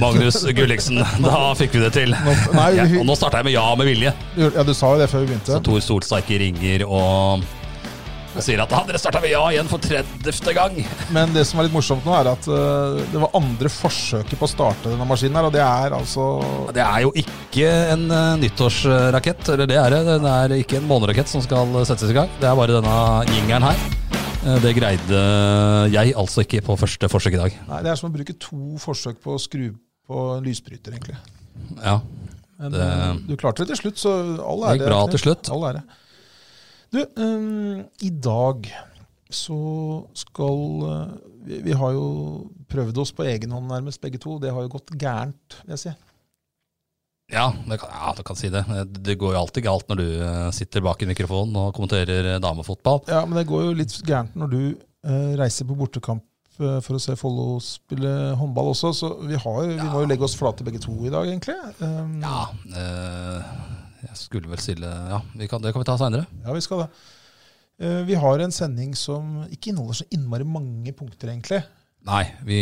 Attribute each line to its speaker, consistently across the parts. Speaker 1: Magnus Gulliksen, da fikk vi det til.
Speaker 2: Nei,
Speaker 1: Ja,
Speaker 2: vi-
Speaker 1: og nå starta jeg med ja med vilje.
Speaker 2: Ja, du sa jo det før vi begynte.
Speaker 1: Tor Solsteiker ringer og, og sier at ah, dere starta med ja igjen for 30. gang.
Speaker 2: Men det som er litt morsomt nå, er at eh, det var andre forsøket på å starte denne maskinen her, og det er altså
Speaker 1: Det er jo ikke en eh, nyttårsrakett, eller det er det. Det er ikke en månerakett som skal settes i gang. Det er bare denne jingeren her. Eh, Det greide jeg altså ikke på første forsøk i dag.
Speaker 2: Nei, det er som å bruke to forsøk på å skru på en lysbryter, egentlig.
Speaker 1: Ja,
Speaker 2: Men
Speaker 1: Det-
Speaker 2: eh, du klarte det til slutt, så all
Speaker 1: Det
Speaker 2: ære.
Speaker 1: gikk bra
Speaker 2: Knut.
Speaker 1: til slutt.
Speaker 2: All ære. Du, eh, i dag så skal eh, vi, vi har jo prøvd oss på egen hånd nærmest, begge to. Det har jo gått gærent, vil jeg si.
Speaker 1: ja, det kan, ja, du kan si det. Det går jo alltid galt når du eh, sitter bak i mikrofonen og kommenterer eh, damefotball.
Speaker 2: Ja, men det går jo litt gærent når du eh, reiser på bortekamp eh, for å se Follo spille håndball også, så vi, har, jo- vi må jo legge oss flate begge to i dag, egentlig. Um, ja.
Speaker 1: Ja, eh, jeg skulle vel stille Ja, vi kan, det kan vi ta seinere.
Speaker 2: vi skal det. Eh, vi har en sending som ikke inneholder så innmari mange punkter, egentlig.
Speaker 1: Nei, vi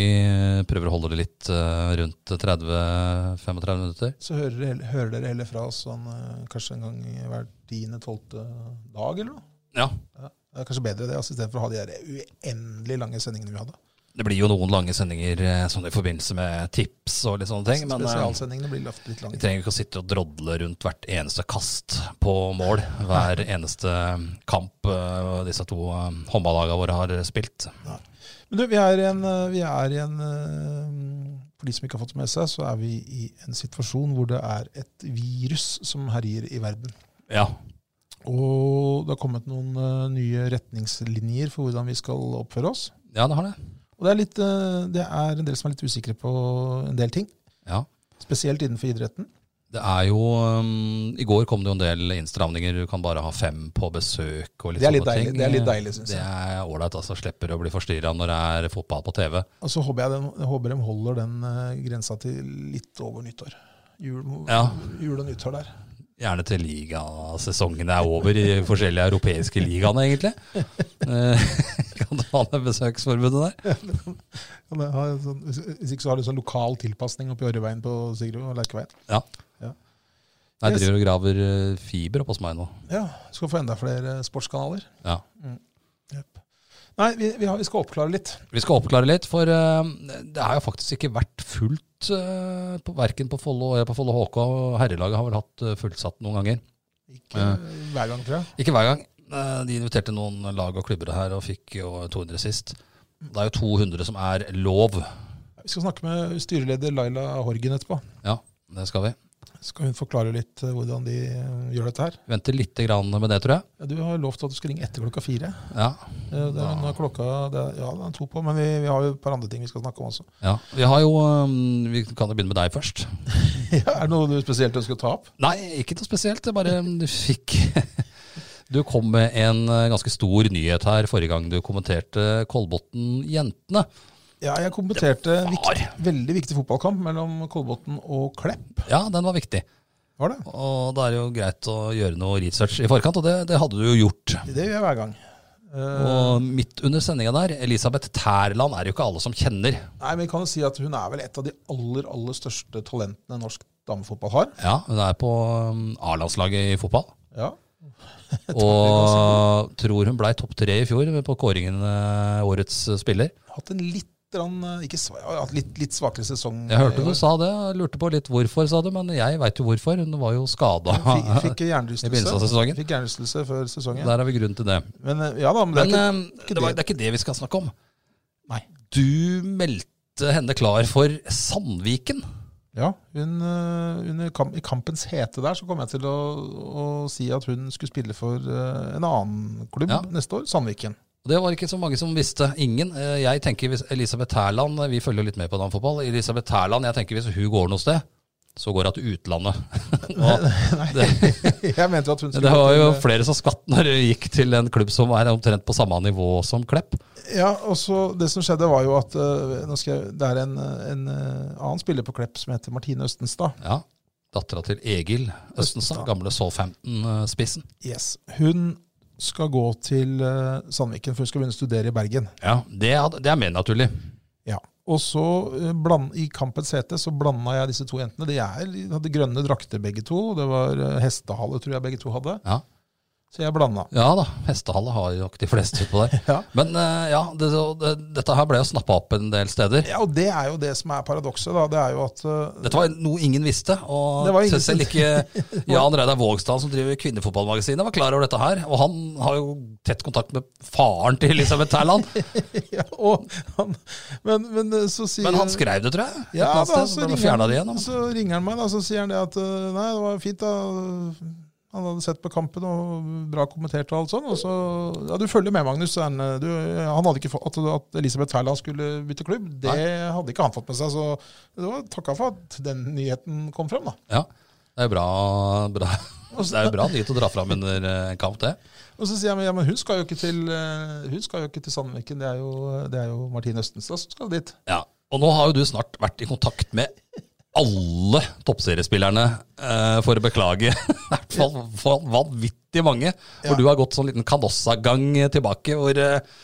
Speaker 1: prøver å holde det litt eh, rundt 30-35 minutter.
Speaker 2: Så hører, dere heller- hører dere heller fra oss sånn eh, kanskje en gang hver tiende-tolvte dag, eller noe.
Speaker 1: Ja.
Speaker 2: Det er kanskje bedre det, altså, istedenfor å ha de der uendelig lange sendingene vi hadde.
Speaker 1: Det blir jo noen lange sendinger eh, sånn i forbindelse med tips og litt sånne ting, men eh,
Speaker 2: Spesialsendingene blir ofte litt
Speaker 1: vi
Speaker 2: lange.
Speaker 1: trenger ikke å sitte og drodle rundt hvert eneste kast på mål, hver eneste kamp eh, disse to eh, håndballagene våre har spilt.
Speaker 2: Men du, vi er i en, eh, vi er i en eh, For de som ikke har fått det med seg, så er vi i en situasjon hvor det er et virus som herjer i verden.
Speaker 1: Ja.
Speaker 2: Og det har kommet noen eh, nye retningslinjer for hvordan vi skal oppføre oss.
Speaker 1: ja, det har det.
Speaker 2: Og det er, litt, eh, det er en del som er litt usikre på en del ting.
Speaker 1: Ja.
Speaker 2: Spesielt innenfor idretten.
Speaker 1: Det er jo um, I går kom det jo en del innstramninger. Du kan bare ha fem på besøk. Og litt
Speaker 2: Det er litt
Speaker 1: sånne
Speaker 2: deilig,
Speaker 1: ting.
Speaker 2: det er litt deilig, synes jeg.
Speaker 1: Det er ålreit. Altså, slipper å bli forstyrra når det er fotball på TV.
Speaker 2: Og så håper jeg, den, jeg håper de holder den eh, grensa til litt over nyttår. Jul,
Speaker 1: Ja.
Speaker 2: jul og nyttår der.
Speaker 1: Gjerne til ligasesongen er over i forskjellige europeiske ligaene, egentlig. Eh, kan du ha det besøksforbudet der?
Speaker 2: Ja, men ha en sånn, hvis hvis ikke så har du sånn lokal tilpasning oppi Orreveien på Sigrud og Lerkeveien.
Speaker 1: Ja.
Speaker 2: Ja.
Speaker 1: Jeg
Speaker 2: Yes.
Speaker 1: driver og graver eh, fiber oppe hos meg nå.
Speaker 2: Ja, skal få enda flere sportskanaler.
Speaker 1: Ja.
Speaker 2: Nei, vi, vi, har, vi skal oppklare litt.
Speaker 1: Vi skal oppklare litt, for eh, det har jo faktisk ikke vært fullt eh, på, verken på Follo eller på Follo HK. Herrelaget har vel hatt eh, fullsatt noen ganger.
Speaker 2: Ikke
Speaker 1: Ja.
Speaker 2: hver gang, tror jeg.
Speaker 1: Ikke hver gang. Eh, De inviterte noen lag og klubber her og fikk jo 200 sist. Det er jo 200 som er lov.
Speaker 2: Vi skal snakke med styreleder Laila Horgen etterpå.
Speaker 1: Ja, det skal vi.
Speaker 2: Skal hun forklare litt eh, hvordan de eh, gjør dette her?
Speaker 1: Vi Venter lite grann med det, tror jeg.
Speaker 2: Ja, Du har lovt at du skal ringe etter klokka fire.
Speaker 1: Ja,
Speaker 2: Eh, Det er, nå er klokka det er, Ja, det er to på, men vi, vi har jo et par andre ting vi skal snakke om også.
Speaker 1: ja. Vi har jo eh, Vi kan jo begynne med deg først.
Speaker 2: Ja, er det noe du spesielt ønsker å ta opp?
Speaker 1: Nei, ikke noe spesielt. Jeg bare um, du fikk Du kom med en eh, ganske stor nyhet her forrige gang du kommenterte Kolbotn-jentene.
Speaker 2: Ja, jeg kommenterte en
Speaker 1: var-
Speaker 2: viktig, veldig viktig fotballkamp mellom Kolbotn og Klepp.
Speaker 1: Ja, den var viktig.
Speaker 2: Var det?
Speaker 1: Og da er det jo greit å gjøre noe research i forkant, og det, det hadde du jo gjort.
Speaker 2: Det gjør jeg hver gang. Eh,
Speaker 1: Og midt under sendinga der, Elisabeth Tærland er det jo ikke alle som kjenner.
Speaker 2: Nei, men vi kan jo si at hun er vel et av de aller, aller største talentene norsk damefotball har.
Speaker 1: Ja, Hun er på um, A-landslaget i fotball.
Speaker 2: Ja.
Speaker 1: Og tror hun blei topp tre i fjor på kåringen eh, årets spiller.
Speaker 2: Hatt en litt, grann, eh, ikke, sva- ja, hatt litt, litt svakere sesong.
Speaker 1: Jeg hørte
Speaker 2: i
Speaker 1: du
Speaker 2: år.
Speaker 1: sa det, og lurte på litt hvorfor, sa du. Men jeg veit jo hvorfor. Hun var jo skada.
Speaker 2: Fikk, fikk
Speaker 1: I begynnelsen av
Speaker 2: hjernerystelse.
Speaker 1: sesongen.
Speaker 2: Fikk hjernerystelse før sesongen.
Speaker 1: Der har vi grunn til det.
Speaker 2: Men eh, ja da, men det
Speaker 1: Men
Speaker 2: er ikke,
Speaker 1: eh, det, var, det er ikke det vi skal snakke om.
Speaker 2: Nei.
Speaker 1: Du meldte henne klar for Sandviken.
Speaker 2: ja, hun, eh, under kamp, I kampens hete der så kom jeg til å, å si at hun skulle spille for eh, en annen klubb
Speaker 1: Ja.
Speaker 2: neste år, Sandviken.
Speaker 1: Og Det var ikke så mange som visste. Ingen. Eh, Jeg tenker hvis Elisabeth Tærland Vi følger jo litt med på damefotball. Elisabeth Tærland, jeg tenker hvis hun går noe sted, så går hun til utlandet. Og
Speaker 2: Nei,
Speaker 1: det,
Speaker 2: jeg mente at hun skulle
Speaker 1: det var jo
Speaker 2: til- eh,
Speaker 1: flere som skvatt når hun gikk til en klubb som er omtrent på samme nivå som Klepp.
Speaker 2: Ja, og så Det som skjedde, var jo at eh, nå skal jeg, det er en, eh, en eh, annen spiller på Klepp som heter Martine Østenstad.
Speaker 1: Ja, Dattera til Egil Østenstad, gamle eh, Southampton-spissen.
Speaker 2: Yes. Hun skal gå til eh, Sandviken, for hun skal begynne å studere i Bergen.
Speaker 1: Ja, det er, det er mer naturlig.
Speaker 2: Ja. Og så eh, bland, I kampens hete så blanda jeg disse to jentene. De, er, de hadde grønne drakter begge to. og Det var eh, hestehale, tror jeg begge to hadde.
Speaker 1: Ja,
Speaker 2: Så jeg blanda.
Speaker 1: ja da, hestehale har jo nok de fleste utpå der.
Speaker 2: Ja.
Speaker 1: Men eh, ja, det, det, dette her ble jo snappa opp en del steder.
Speaker 2: Ja, og det er jo det som er paradokset, da. Det er jo at eh,
Speaker 1: Dette var noe ingen visste. og
Speaker 2: Det var ingen
Speaker 1: Selv ikke Jan Reidar Vågstad, som driver Kvinnefotballmagasinet, var klar over dette her. Og han har jo tett kontakt med faren til Elisabeth Terland.
Speaker 2: ja, og han, men, men eh, så sier
Speaker 1: Men han skrev det, tror jeg. et
Speaker 2: Ja,
Speaker 1: eller annet
Speaker 2: da,
Speaker 1: sted,
Speaker 2: så,
Speaker 1: så ble det
Speaker 2: ringer
Speaker 1: fjernet
Speaker 2: han,
Speaker 1: det igjen. altså.
Speaker 2: så ringer han meg, da, så sier han det at øh, Nei, det var fint, da. Han hadde sett på kampen og bra kommentert og alt sånn. Og så Ja, du følger med, Magnus. sa Han, eh, du, han hadde ikke fått at, at Elisabeth Færland skulle bytte klubb. Det hadde ikke han fått med seg, så det var takka for at den nyheten kom frem, da.
Speaker 1: Ja, det er jo bra, bra. Det er jo bra nyhet å dra fram under eh, en kamp, det.
Speaker 2: Og så sier jeg ja, men hun skal jo ikke til, øh, hun skal jo ikke til Sandviken. Det er jo, det er jo Martine Østenstad som skal dit.
Speaker 1: Ja. Og nå har jo du snart vært i kontakt med alle toppseriespillerne eh, for å beklage. I hvert fall for vanvittig mange. For
Speaker 2: Ja.
Speaker 1: du har gått sånn liten Canossa-gang tilbake hvor eh,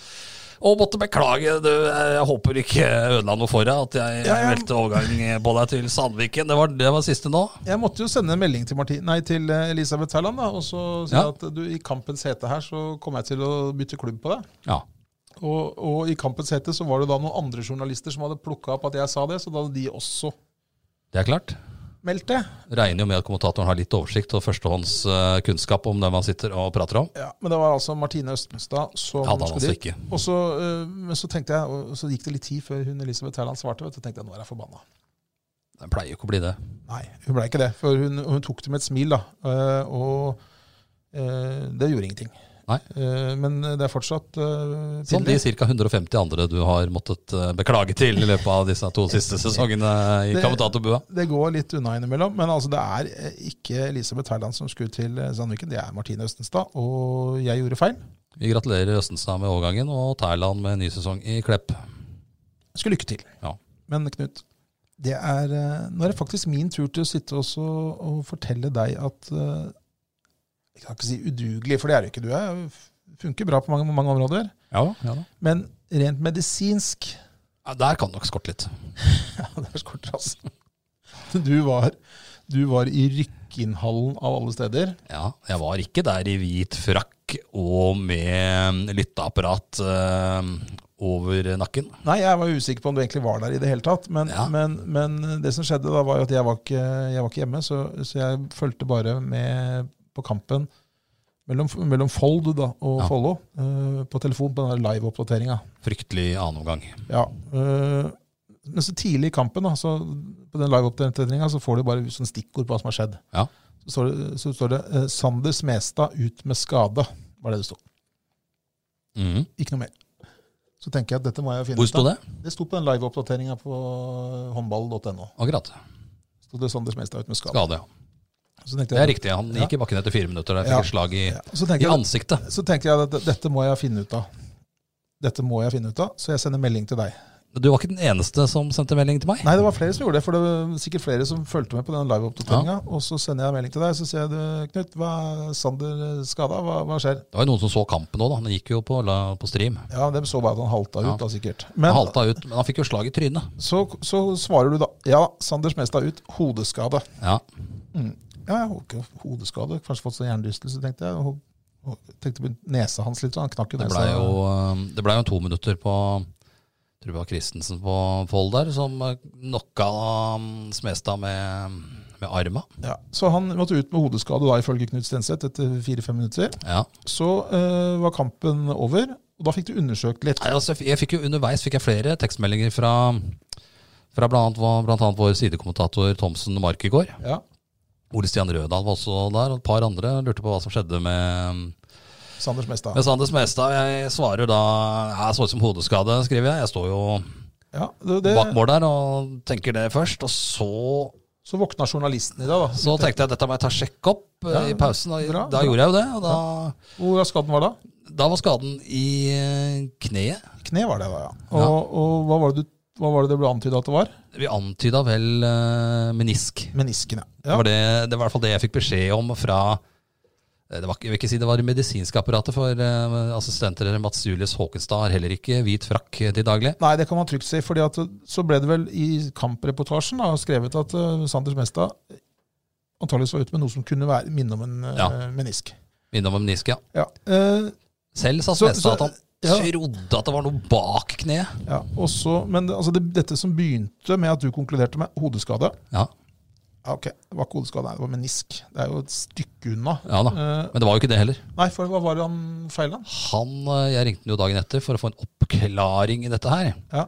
Speaker 1: og måtte beklage, du, eh, jeg håper ikke ødela noe for deg at jeg
Speaker 2: Ja, ja.
Speaker 1: meldte overgang på deg til Sandviken. Det var, det var siste nå.
Speaker 2: Jeg måtte jo sende en melding til, Martin, nei, til eh, Elisabeth Terland da, og så si
Speaker 1: Ja.
Speaker 2: at du, i kampens hete her så kommer jeg til å bytte klubb på deg.
Speaker 1: Ja.
Speaker 2: Og, og i kampens hete så var det da noen andre journalister som hadde plukka opp at jeg sa det, så da hadde de også
Speaker 1: Det er klart.
Speaker 2: meldt det.
Speaker 1: Regner jo med at kommentatoren har litt oversikt og førstehåndskunnskap om det man sitter og prater om.
Speaker 2: Ja, men det var altså Martine Østenstad som
Speaker 1: Hadde han
Speaker 2: skulle
Speaker 1: altså
Speaker 2: dit.
Speaker 1: ikke.
Speaker 2: Og så, eh, men så tenkte jeg, og så gikk det litt tid før hun Elisabeth Terland svarte, vet du, tenkte jeg nå er jeg forbanna.
Speaker 1: Det pleier jo ikke å bli det.
Speaker 2: Nei, hun ble ikke det. For hun, hun tok det med et smil, da. Eh, og eh, det gjorde ingenting.
Speaker 1: Nei. Sånn
Speaker 2: Eh, men det er fortsatt eh,
Speaker 1: Som
Speaker 2: tidlig.
Speaker 1: de ca. 150 andre du har måttet eh, beklage til i løpet av disse to siste sesongene i
Speaker 2: Det-
Speaker 1: kommentatorbua.
Speaker 2: Det går litt unna innimellom, men altså det er eh, ikke Elisabeth Herland som skulle til eh, Sandviken, det er Martine Østenstad. Og jeg gjorde feil.
Speaker 1: Vi gratulerer Østenstad med overgangen og Thailand med en ny sesong i Klepp.
Speaker 2: Skulle lykke til.
Speaker 1: Ja.
Speaker 2: Men Knut, det er, eh, nå er det faktisk min tur til å sitte også og fortelle deg at eh, Jeg kan ikke si udugelig, for det er jo ikke du. Jeg funker bra på mange, mange områder.
Speaker 1: Ja, ja da.
Speaker 2: Men rent medisinsk
Speaker 1: Ja, Der kan det nok skorte litt.
Speaker 2: Ja, det er skort, altså. Du var, du var i Rykkinhallen av alle steder.
Speaker 1: Ja, Jeg var ikke der i hvit frakk og med lytteapparat eh, over nakken.
Speaker 2: Nei, jeg var usikker på om du egentlig var der i det hele tatt. Men,
Speaker 1: Ja.
Speaker 2: men, men det som skjedde da, var jo at jeg var ikke, jeg var ikke hjemme, så, så jeg fulgte bare med på kampen mellom, mellom Fold da, og
Speaker 1: Ja.
Speaker 2: Follo eh, på telefon på den der live-oppdateringa.
Speaker 1: Fryktelig annen omgang.
Speaker 2: Ja, eh, men så tidlig i kampen, da, så på den live-oppdateringa, så får du bare sånn stikkord på hva som har skjedd.
Speaker 1: Ja.
Speaker 2: Så står det, så står det eh, 'Sander Smestad ut med skade', var det det sto.
Speaker 1: Mhm.
Speaker 2: Ikke noe mer. Så tenker jeg at dette må jeg finne
Speaker 1: Hvor sto det?
Speaker 2: Det sto på den live-oppdateringa på eh, håndball.no.
Speaker 1: Akkurat.
Speaker 2: Sto det Sander Smestad ut med skade.
Speaker 1: Skade, ja.
Speaker 2: Så tenkte
Speaker 1: Det er
Speaker 2: jeg,
Speaker 1: riktig. Han gikk i bakken etter fire minutter. Der
Speaker 2: Ja.
Speaker 1: fikk et slag i,
Speaker 2: ja, så,
Speaker 1: i
Speaker 2: tenkte jeg,
Speaker 1: ansiktet.
Speaker 2: så tenkte jeg at det- dette må jeg finne ut av. Dette må jeg finne ut av, så jeg sender melding til deg.
Speaker 1: Du var ikke den eneste som sendte melding til meg.
Speaker 2: Nei, det var flere som gjorde det, for det var sikkert flere som fulgte med på den live-oppdateringa. Og så sender jeg melding til deg, så sier jeg du, Knut, hva er Sander eh, skada? Hva, hva skjer?
Speaker 1: Det var jo noen som så kampen òg, da. Han gikk jo på, la- på stream.
Speaker 2: Ja, dem så bare at han halta
Speaker 1: Ja.
Speaker 2: ut, da, sikkert.
Speaker 1: Han
Speaker 2: Men
Speaker 1: halta ut, men han fikk jo slag i trynet.
Speaker 2: så, så svarer du da ja, Sander Smestad ut, hodeskade.
Speaker 1: Ja,
Speaker 2: Ja, jeg har ikke hodeskade, kanskje fått sånn hjernerystelse, tenkte jeg. Og, og tenkte på nesa hans litt, så han knakk jo
Speaker 1: Det
Speaker 2: nesa.
Speaker 1: blei jo, eh, det ble jo en to minutter på tror det var Christensen på Fold der, som eh, knocka eh, Smestad med, med arma.
Speaker 2: Ja, så han måtte ut med hodeskade da, ifølge Knut Stenseth, etter fire-fem minutter.
Speaker 1: Ja.
Speaker 2: Så eh, var kampen over, og da fikk du undersøkt litt.
Speaker 1: Nei, altså, jeg fikk- jeg fikk jo underveis fikk jeg flere tekstmeldinger fra, fra blant, annet- blant annet vår sidekommentator Thomsen Markegård.
Speaker 2: Ja,
Speaker 1: Ole Stian Rødal var også der, og et par andre lurte på hva som skjedde med
Speaker 2: Sander Smestad.
Speaker 1: Men Sander Smestad, jeg svarer da Jeg så ut som hodeskade, skriver jeg. Jeg står jo
Speaker 2: Ja, det, det,
Speaker 1: bak mål der og tenker det først. Og så
Speaker 2: Så våkna journalisten i dag, da.
Speaker 1: Så tenkte jeg dette må jeg ta sjekk opp eh,
Speaker 2: Ja,
Speaker 1: i pausen. Da,
Speaker 2: bra,
Speaker 1: da
Speaker 2: bra.
Speaker 1: gjorde jeg jo det. Og da,
Speaker 2: Hvor skaden var da?
Speaker 1: da var skaden i eh, kneet.
Speaker 2: Kne var det da, ja. Og,
Speaker 1: Ja.
Speaker 2: og hva, var det du, hva var det det ble antyda at det var?
Speaker 1: Vi antyda vel eh, menisk.
Speaker 2: Menisken, ja.
Speaker 1: Det
Speaker 2: ja.
Speaker 1: var, det, det var i hvert fall det jeg fikk beskjed om fra eh, det var, ikke- jeg vil ikke si det var det medisinske apparatet, for eh, assistenttrener Mats Julius Håkenstad har heller ikke hvit frakk eh, til daglig.
Speaker 2: Nei, det kan man trygt si. fordi at Så ble det vel i kampreportasjen da, skrevet at eh, Sanders Mestad antakeligvis var ute med noe som kunne være minne om en eh,
Speaker 1: Ja.
Speaker 2: menisk.
Speaker 1: Minne om menisk, ja.
Speaker 2: Ja. Eh,
Speaker 1: Selv sa
Speaker 2: Så-
Speaker 1: Smestad at han
Speaker 2: så- ja.
Speaker 1: trodde at det var noe bak kneet.
Speaker 2: ja. Og så- men det- altså, det, dette som begynte med at du konkluderte med hodeskade
Speaker 1: Ja,
Speaker 2: ja, ok, Det var ikke hodeskade, nei, det var menisk. Det er jo et stykke unna.
Speaker 1: ja da.
Speaker 2: Eh,
Speaker 1: Men det var jo ikke det heller.
Speaker 2: nei, for hva var det han feila?
Speaker 1: Han, eh, jeg ringte han jo dagen etter for å få en oppklaring i dette her.
Speaker 2: Ja.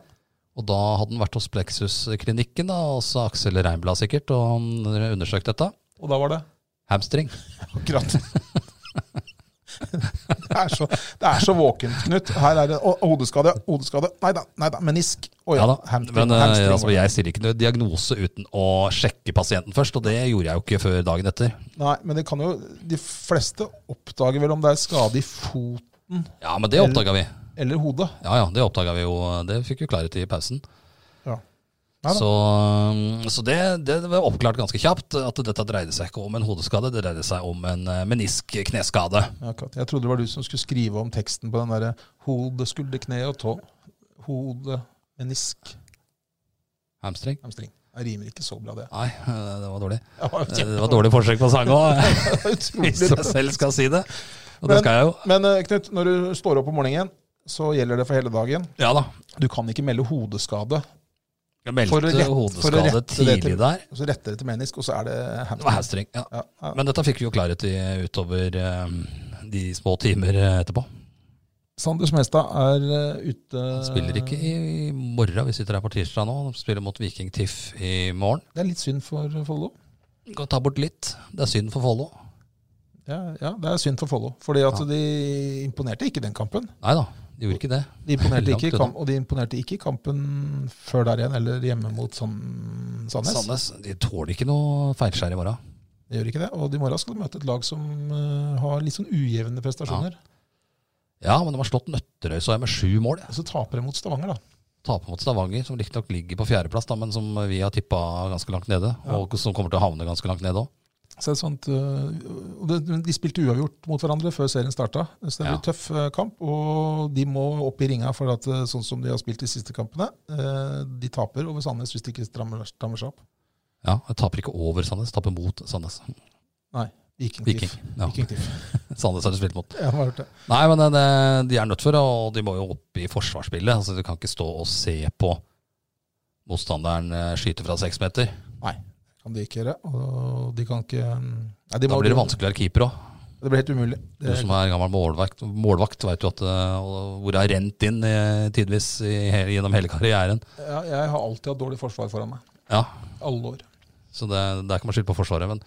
Speaker 1: Og da hadde han vært hos Plexus-klinikken, da, også Aksel Reinblad sikkert, og han undersøkte dette.
Speaker 2: Og da var det
Speaker 1: Hamstring.
Speaker 2: akkurat Det er så, det er så våkent, Knut. Her er det og, hodeskade, hodeskade. Nei da, nei da, menisk. Å ja,
Speaker 1: Ja da,
Speaker 2: hamstring.
Speaker 1: men eh,
Speaker 2: hamstring.
Speaker 1: altså, jeg stiller ikke noe diagnose uten å sjekke pasienten først, og det gjorde jeg jo ikke før dagen etter.
Speaker 2: Nei, men det kan jo De fleste oppdager vel om det er skade i foten
Speaker 1: Ja, men det oppdaga vi.
Speaker 2: eller hodet.
Speaker 1: Ja, ja, det oppdaga vi jo. eh, Det fikk vi klarhet i i pausen.
Speaker 2: Ja. Ja da.
Speaker 1: så um, så det, det var oppklart ganske kjapt at dette dreide seg ikke om en hodeskade, det dreide seg om en eh, menisk-kneskade.
Speaker 2: Ja, akkurat. Jeg trodde det var du som skulle skrive om teksten på den derre hode, skulder, kne og tå. Hode, menisk,
Speaker 1: Hamstring.
Speaker 2: hamstring. Det rimer ikke så bra, det.
Speaker 1: Nei, eh, det var dårlig.
Speaker 2: Det var,
Speaker 1: Eh, Det var dårlig forsøk på sang òg,
Speaker 2: utrolig
Speaker 1: hvis jeg
Speaker 2: bra.
Speaker 1: selv skal si det. Og
Speaker 2: Men-
Speaker 1: det skal jeg jo.
Speaker 2: Men eh, Knut, når du står opp om morgenen, så gjelder det for hele dagen.
Speaker 1: Ja da.
Speaker 2: Du kan ikke melde hodeskade.
Speaker 1: Jeg
Speaker 2: For å
Speaker 1: meldte
Speaker 2: rett- for å
Speaker 1: hodeskade
Speaker 2: rette det til-
Speaker 1: tidlig der.
Speaker 2: Og så retter det til menisk, og så er det
Speaker 1: Det var hamstring.
Speaker 2: hamstring.
Speaker 1: Ja.
Speaker 2: Ja, ja.
Speaker 1: Men dette fikk vi jo klarhet i utover eh, de små timer eh, etterpå.
Speaker 2: Sander Smestad er eh, ute
Speaker 1: Han spiller ikke i morgen, vi sitter her på tirsdag nå. Han spiller mot Viking TIFF i morgen.
Speaker 2: Det er litt synd for Follo.
Speaker 1: Kan ta bort litt. Det er synd for Follo.
Speaker 2: Ja, ja, det er synd for Follo. Fordi at
Speaker 1: Ja.
Speaker 2: de imponerte ikke den kampen.
Speaker 1: Nei da, de gjorde ikke det.
Speaker 2: De imponerte
Speaker 1: Langt
Speaker 2: ikke i
Speaker 1: unna.
Speaker 2: kamp, og de imponerte ikke i kampen før der igjen, eller hjemme mot San- Sandnes.
Speaker 1: Sandnes de tåler ikke noe feilskjær i morgen.
Speaker 2: De gjør ikke det. Og i morgen skal de møte et lag som eh, har litt sånn ujevne prestasjoner.
Speaker 1: Ja, men de har slått Nøtterøy så jeg med sju mål.
Speaker 2: Og så taper de mot Stavanger, da.
Speaker 1: Taper mot Stavanger, som riktignok ligger på fjerdeplass, da, men som vi har tippa ganske langt nede. Og som kommer til å havne ganske langt nede òg.
Speaker 2: Så det er sånt, øh, og det- de spilte uavgjort mot hverandre før serien starta. Så det blir
Speaker 1: Ja.
Speaker 2: tøff øh, kamp. Og de må opp i ringa, for at øh, sånn som de har spilt de siste kampene øh, De taper over Sandnes hvis de ikke strammer, strammer seg opp.
Speaker 1: Ja, jeg taper ikke over Sandnes, taper mot Sandnes.
Speaker 2: Nei, Viking.
Speaker 1: Viking.
Speaker 2: Viking.
Speaker 1: Ja,
Speaker 2: Viking Tiff.
Speaker 1: Sandnes har de spilt mot.
Speaker 2: Jeg har hørt det.
Speaker 1: Nei, men det, det- de er nødt for det, og de må jo opp i forsvarsspillet. Altså, du kan ikke stå og se på motstanderen eh, skyte fra seks meter.
Speaker 2: Kan de ikke gjøre. Og de kan ikke mm, Nei, de
Speaker 1: Da
Speaker 2: må-
Speaker 1: blir det vanskeligere keeper òg.
Speaker 2: Det blir helt umulig.
Speaker 1: Du
Speaker 2: Det,
Speaker 1: som er gammel målvakt, målvakt veit jo at eh, og hvor det har rent inn eh, tidvis i, hele- gjennom hele karrieren.
Speaker 2: ja, jeg har alltid hatt dårlig forsvar foran meg.
Speaker 1: Ja,
Speaker 2: Alle år.
Speaker 1: Så det, der kan man skylde på Forsvaret. Men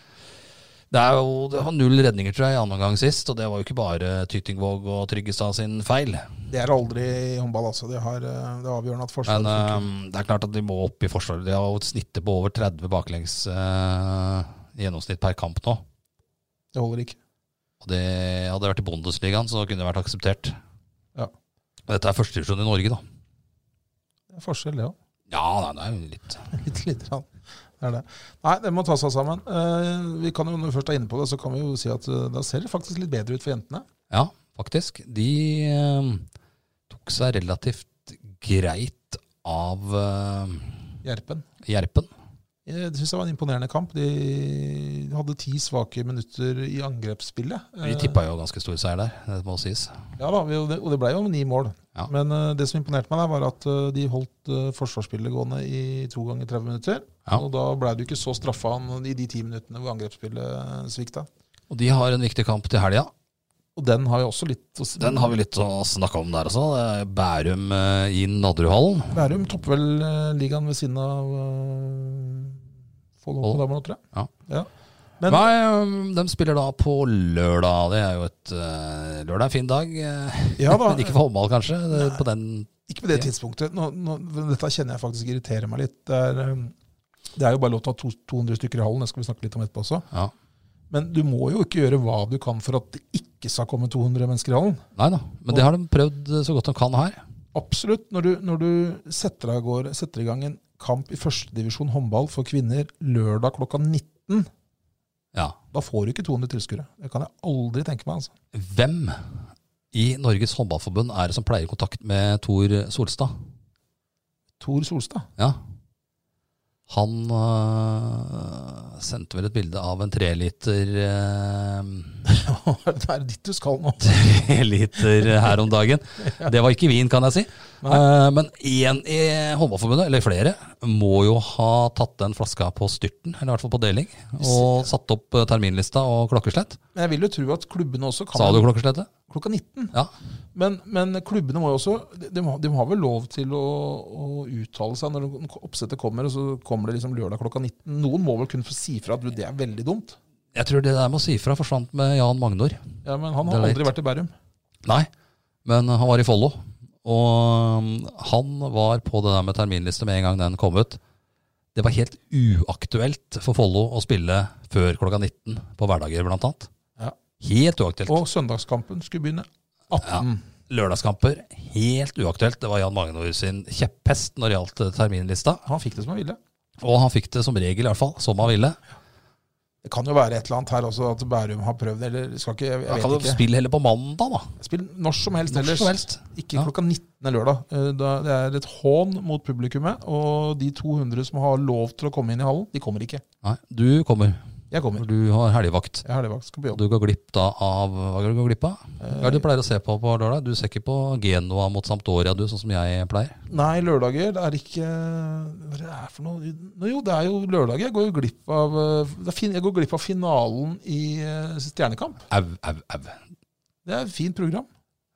Speaker 1: det er jo det var null redninger, tror jeg, i annen omgang sist. Og det var jo ikke bare Tytingvåg og Tryggestad sin feil.
Speaker 2: Det er aldri i håndball, altså. Det, har, øh, det er avgjørende at forsvaret
Speaker 1: Men
Speaker 2: funker.
Speaker 1: eh, det er klart at de må opp i forsvaret. De har jo et snitt på over 30 baklengs eh, i gjennomsnitt per kamp nå.
Speaker 2: Det holder ikke.
Speaker 1: Og det hadde vært i Bundesligaen, så kunne det vært akseptert.
Speaker 2: Ja.
Speaker 1: Dette er førstedivisjon i Norge, da.
Speaker 2: Det er forskjell, det òg.
Speaker 1: Ja, nei, det er jo litt
Speaker 2: Bitte lite grann. Det er det. Nei, det må ta seg sammen. Eh, vi kan jo, Når vi først er inne på det, så kan vi jo si at eh, da ser det faktisk litt bedre ut for jentene.
Speaker 1: Ja, faktisk. De eh, tok seg relativt greit av eh,
Speaker 2: Gjerpen.
Speaker 1: Gjerpen.
Speaker 2: Jeg syns Eh, det var en imponerende kamp. De hadde ti svake minutter i angrepsspillet.
Speaker 1: Vi
Speaker 2: Eh,
Speaker 1: tippa jo ganske stor seier der, det må sies.
Speaker 2: Ja da, vi- og det- og det ble jo ni mål.
Speaker 1: Ja.
Speaker 2: Men eh, det som imponerte meg, der var at eh, de holdt eh, forsvarsspillet gående i to ganger 30 minutter.
Speaker 1: Ja.
Speaker 2: Og da ble du ikke så straffa i de ti minuttene hvor angrepsspillet svikta.
Speaker 1: Og de har en viktig kamp til helga.
Speaker 2: Og den har jo også litt å si.
Speaker 1: Den har vi litt å snakke om der også. Det er Bærum eh, i Nadderudhallen.
Speaker 2: Bærum topper vel eh, ligaen ved siden av eh, Follo på
Speaker 1: Follo.
Speaker 2: damene, tror jeg.
Speaker 1: Ja.
Speaker 2: Men-
Speaker 1: Nei, um, de spiller da på lørdag. Det er jo et eh, Lørdag er en fin dag. eh,
Speaker 2: Ja da,
Speaker 1: Men ikke for håndball, kanskje. Det- På den
Speaker 2: ikke på det
Speaker 1: Ja.
Speaker 2: tidspunktet. Nå, nå, dette kjenner jeg faktisk irriterer meg litt. Det er, eh, Det er jo bare lov til å ha to- 200 stykker i hallen, det skal vi snakke litt om etterpå også.
Speaker 1: Ja.
Speaker 2: Men du må jo ikke gjøre hva du kan for at det ikke skal komme 200 mennesker i hallen.
Speaker 1: Nei da, men det har de prøvd eh, så godt de kan her.
Speaker 2: Absolutt. Når du, når du setter, av gårde- setter i gang en kamp i førstedivisjon håndball for kvinner lørdag klokka 19,
Speaker 1: Ja.
Speaker 2: da får du ikke 200 tilskuere. Det kan jeg aldri tenke meg. altså.
Speaker 1: Hvem i Norges Håndballforbund er det som pleier kontakt med Tor Solstad?
Speaker 2: Tor Solstad.
Speaker 1: Ja. Han øh, sendte vel et bilde av en treliter øh,
Speaker 2: det er ditt du skal nå.
Speaker 1: Treliter her om dagen. Det var ikke vin, kan jeg si. Eh, men én i Håndballforbundet, eller flere, må jo ha tatt den flaska på styrten, eller i hvert fall på deling, og satt opp eh, terminlista og klokkeslett.
Speaker 2: Men jeg vil jo tro at klubbene også kan
Speaker 1: Sa du klokkeslettet?
Speaker 2: klokka 19.
Speaker 1: Ja.
Speaker 2: Men, men klubbene må jo også de, de har- de har vel lov til å, å uttale seg når oppsettet kommer, og så kommer det liksom lørdag klokka 19. Noen må vel kunne få si fra at du, det er veldig dumt.
Speaker 1: Jeg tror det der med å si fra forsvant med Jan Magnor.
Speaker 2: Ja, Men han
Speaker 1: Det
Speaker 2: har
Speaker 1: er
Speaker 2: aldri vært i Bærum.
Speaker 1: Nei, men han var i Follo. Og um, han var på det der med terminliste med en gang den kom ut. Det var helt uaktuelt for Follo å spille før klokka 19 på hverdager, blant annet.
Speaker 2: Ja.
Speaker 1: Helt uaktuelt.
Speaker 2: Og søndagskampen skulle begynne 18.
Speaker 1: Ja. Lørdagskamper, helt uaktuelt. Det var Jan Magnor sin kjepphest når det gjaldt eh, terminlista.
Speaker 2: Han fikk det som han ville.
Speaker 1: Og han fikk det som regel, i hvert fall, som han ville.
Speaker 2: Det kan jo være et eller annet her også, at Bærum har prøvd det. Eller skal ikke, jeg,
Speaker 1: Da
Speaker 2: jeg
Speaker 1: kan
Speaker 2: vet
Speaker 1: du
Speaker 2: ikke.
Speaker 1: spille heller på mandag, da.
Speaker 2: Spill når som helst
Speaker 1: Når
Speaker 2: ellers.
Speaker 1: som helst.
Speaker 2: Ikke
Speaker 1: Ja.
Speaker 2: klokka 19 lørdag. Eh, da- Det er et hån mot publikummet. Og de 200 som har lov til å komme inn i hallen, de kommer ikke.
Speaker 1: Nei, du kommer.
Speaker 2: Jeg kommer.
Speaker 1: For du har helgevakt.
Speaker 2: Jeg har det faktisk på
Speaker 1: Og
Speaker 2: jobb.
Speaker 1: Du går glipp da av Hva er det du går glipp av? Hva er det du pleier å se på på lørdag? Du ser ikke på Genoa mot Sampdoria, du, sånn som jeg pleier?
Speaker 2: Nei, lørdager det er ikke Hva er det er for noe? Nå, jo, det er jo lørdager. Jeg går jo glipp av, eh, det er fin- jeg går glipp av finalen i eh, Stjernekamp.
Speaker 1: Au, au, au.
Speaker 2: Det er et fint program.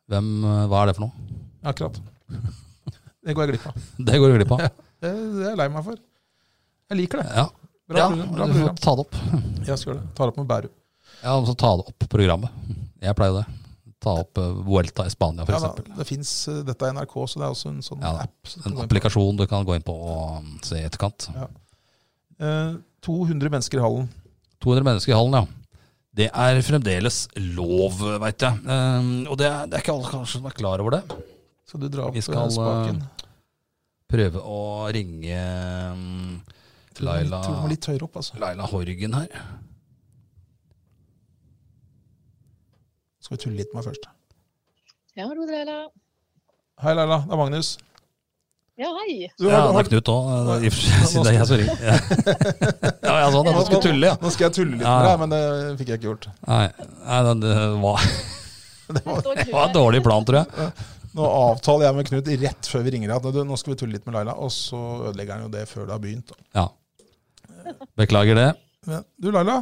Speaker 1: Hvem, eh, hva er det for noe?
Speaker 2: Akkurat. Det går jeg glipp av.
Speaker 1: Det går du glipp av.
Speaker 2: Det det er jeg lei meg for. Jeg liker det.
Speaker 1: Ja,
Speaker 2: Bra,
Speaker 1: ja
Speaker 2: program, bra
Speaker 1: du får
Speaker 2: program.
Speaker 1: ta det opp.
Speaker 2: Jeg skal gjøre det. Tar opp med Bærum.
Speaker 1: Ja, du får ta det opp programmet. Jeg pleier jo det. Ta opp eh, Vuelta i Spania,
Speaker 2: Ja, da,
Speaker 1: f.eks.
Speaker 2: det finnes, eh, dette er NRK, så det er også en sånn
Speaker 1: Ja da.
Speaker 2: app. som du
Speaker 1: En
Speaker 2: går inn på.
Speaker 1: applikasjon du kan gå inn på og mm, se i etterkant.
Speaker 2: Eh, 200 mennesker i hallen.
Speaker 1: 200 mennesker i hallen, ja. Det er fremdeles lov, veit jeg. Eh, og det er, det er ikke alle kanskje som er klar over det.
Speaker 2: Skal du dra opp
Speaker 1: Vi skal,
Speaker 2: eh, spaken?
Speaker 1: prøve å ringe mm, Laila,
Speaker 2: Jeg tror du må litt høyere opp, altså.
Speaker 1: Laila Horgen her.
Speaker 2: Skal vi tulle litt med meg først.
Speaker 3: Ja, hallo, Leila.
Speaker 2: Hei, Leila. Det er Magnus.
Speaker 3: Ja, hei.
Speaker 2: Du,
Speaker 1: ja,
Speaker 2: har-
Speaker 1: det er Knut òg, i og for seg, siden det er jeg som ringer. Ja, ja jeg sa det, jeg skulle tulle, ja.
Speaker 2: Nå skal jeg tulle litt
Speaker 1: Ja.
Speaker 2: med deg, men det fikk jeg ikke gjort.
Speaker 1: Nei, nei det, det, var,
Speaker 3: Her står
Speaker 1: det var en
Speaker 3: du.
Speaker 1: dårlig plan, tror jeg.
Speaker 2: Nå avtaler jeg med Knut rett før vi ringer deg at du, nå skal vi tulle litt med Laila, og så ødelegger han jo det før det har begynt.
Speaker 1: Ja. Beklager det.
Speaker 2: Men, du, Laila.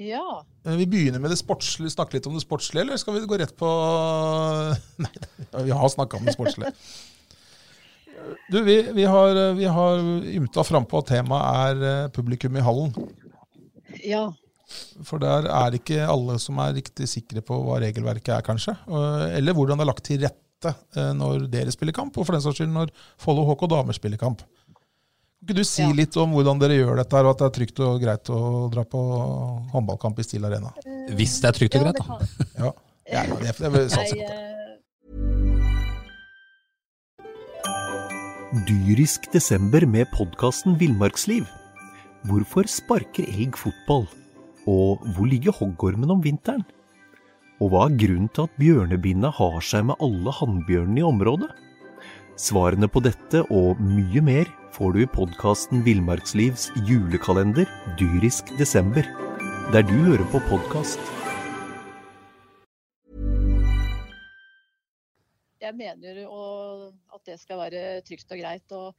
Speaker 3: Ja.
Speaker 2: Eh, Vi begynner med det sportslige, snakke litt om det sportslige, eller skal vi gå rett på Nei, vi har snakka om det sportslige. Du, vi, vi har, eh, vi har ymta frampå at temaet er eh, publikum i hallen.
Speaker 3: ja.
Speaker 2: For der er ikke alle som er riktig sikre på hva regelverket er, kanskje. Eh, Eller hvordan det er lagt til rette eh, når dere spiller kamp, og for den saks skyld når Follo HK damer spiller kamp. Kan ikke du si
Speaker 3: Ja.
Speaker 2: litt om hvordan dere gjør dette, her, og at det er trygt og greit å dra på håndballkamp i Steele Arena?
Speaker 1: Hvis det er trygt og
Speaker 3: Ja,
Speaker 1: greit,
Speaker 3: det
Speaker 1: da.
Speaker 3: kan-
Speaker 2: Ja, jeg, jeg, jeg, jeg vil satse på
Speaker 3: Jeg,
Speaker 2: det. sånn
Speaker 3: eh,
Speaker 4: Dyrisk desember med podkasten Villmarksliv. Hvorfor sparker elg fotball? Og hvor ligger hoggormen om vinteren? Og hva er grunnen til at bjørnebinna har seg med alle hannbjørnene i området? Svarene på dette og mye mer får du i podkasten Villmarkslivs julekalender Dyrisk desember, der du hører på podkast.
Speaker 3: jeg mener å- at det skal være trygt og greit. og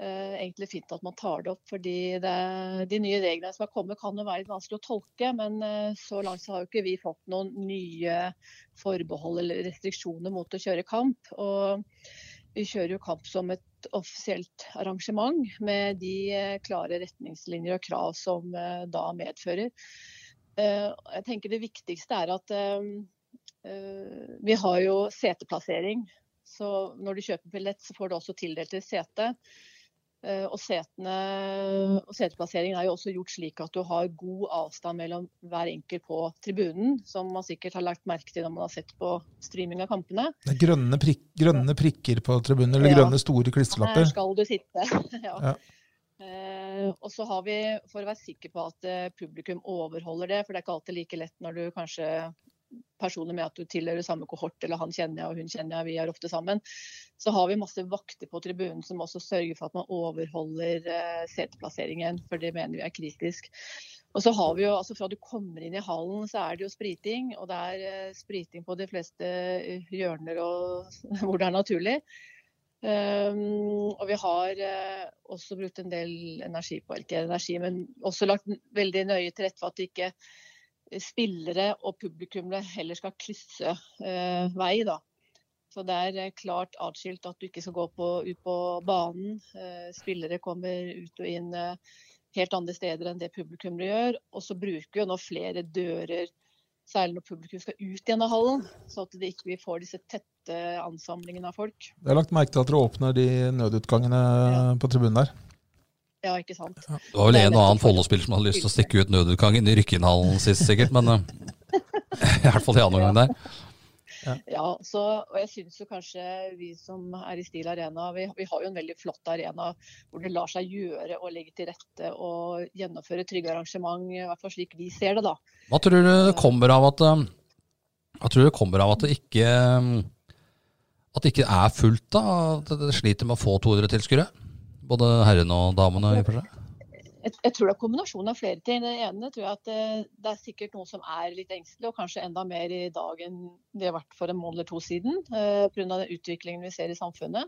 Speaker 3: eh, egentlig fint at man tar det opp, fordi det, de nye reglene som har kommet kan jo være litt vanskelig å tolke. Men eh, så langt så har jo ikke vi fått noen nye forbehold eller restriksjoner mot å kjøre kamp. Og vi kjører jo kamp som et offisielt arrangement med de eh, klare retningslinjer og krav som eh, da medfører. Eh, Jeg tenker det viktigste er at eh, Eh, Vi har jo seteplassering, så når du kjøper billett, så får du også tildelt et sete. Eh, Og, setene, og seteplasseringen er jo også gjort slik at du har god avstand mellom hver enkelt på tribunen, som man sikkert har lagt merke til når man har sett på streaming av kampene.
Speaker 2: Det er grønne, prikk, grønne prikker på tribunen, eller
Speaker 3: Ja.
Speaker 2: grønne store
Speaker 3: Her
Speaker 2: klistrelapper.
Speaker 3: skal du sitte. ja.
Speaker 2: Ja.
Speaker 3: Eh, og så har vi, for å være sikker på at eh, publikum overholder det, for det er ikke alltid like lett når du kanskje personer med at du tilhører samme kohort, eller han kjenner jeg og hun kjenner jeg, vi er ofte sammen, så har vi masse vakter på tribunen som også sørger for at man overholder eh, seteplasseringen, for det mener vi er kritisk. Og så har vi jo, altså Fra du kommer inn i hallen, så er det jo spriting. Og det er eh, spriting på de fleste eh, hjørner og hvor det er naturlig. Um, og vi har eh, også brukt en del energi på, ikke energi, men også lagt n- veldig nøye til rette for at ikke eh, spillere og publikummere heller skal krysse eh, vei. Da. Så det er eh, klart atskilt at du ikke skal gå på, ut på banen. Eh, spillere kommer ut og inn eh, helt andre steder enn det publikummere gjør. Og så bruker vi jo nå flere dører, særlig når publikum skal ut igjen av hallen, så at det ikke vi får disse tette ansamlingene av folk.
Speaker 2: Jeg har lagt merke til at dere åpner de nødutgangene på tribunen der.
Speaker 3: Ja, ikke sant.
Speaker 1: Det var vel en og annen Follo-spiller som hadde lyst til å stikke ut nødutgangen i Rykkinhallen sist, sikkert. Men eh, i hvert fall i annen omgang der.
Speaker 3: Ja, så, og jeg synes jo kanskje vi som er i Stil Arena, vi, vi har jo en veldig flott arena hvor det lar seg gjøre å legge til rette og gjennomføre trygge arrangement, i hvert fall slik vi ser det, da.
Speaker 1: Hva tror du det kommer av at eh, Hva tror du det kommer av at det ikke eh, At det ikke er fullt, da? At det sliter med å få 200 tilskuere? Både herrene og damene, i og for seg.
Speaker 3: Jeg, jeg tror det er kombinasjonen av flere ting. Det ene tror jeg at det, det er sikkert noen som er litt engstelige, og kanskje enda mer i dag enn det har vært for en måned eller to siden, eh, pga. den utviklingen vi ser i samfunnet.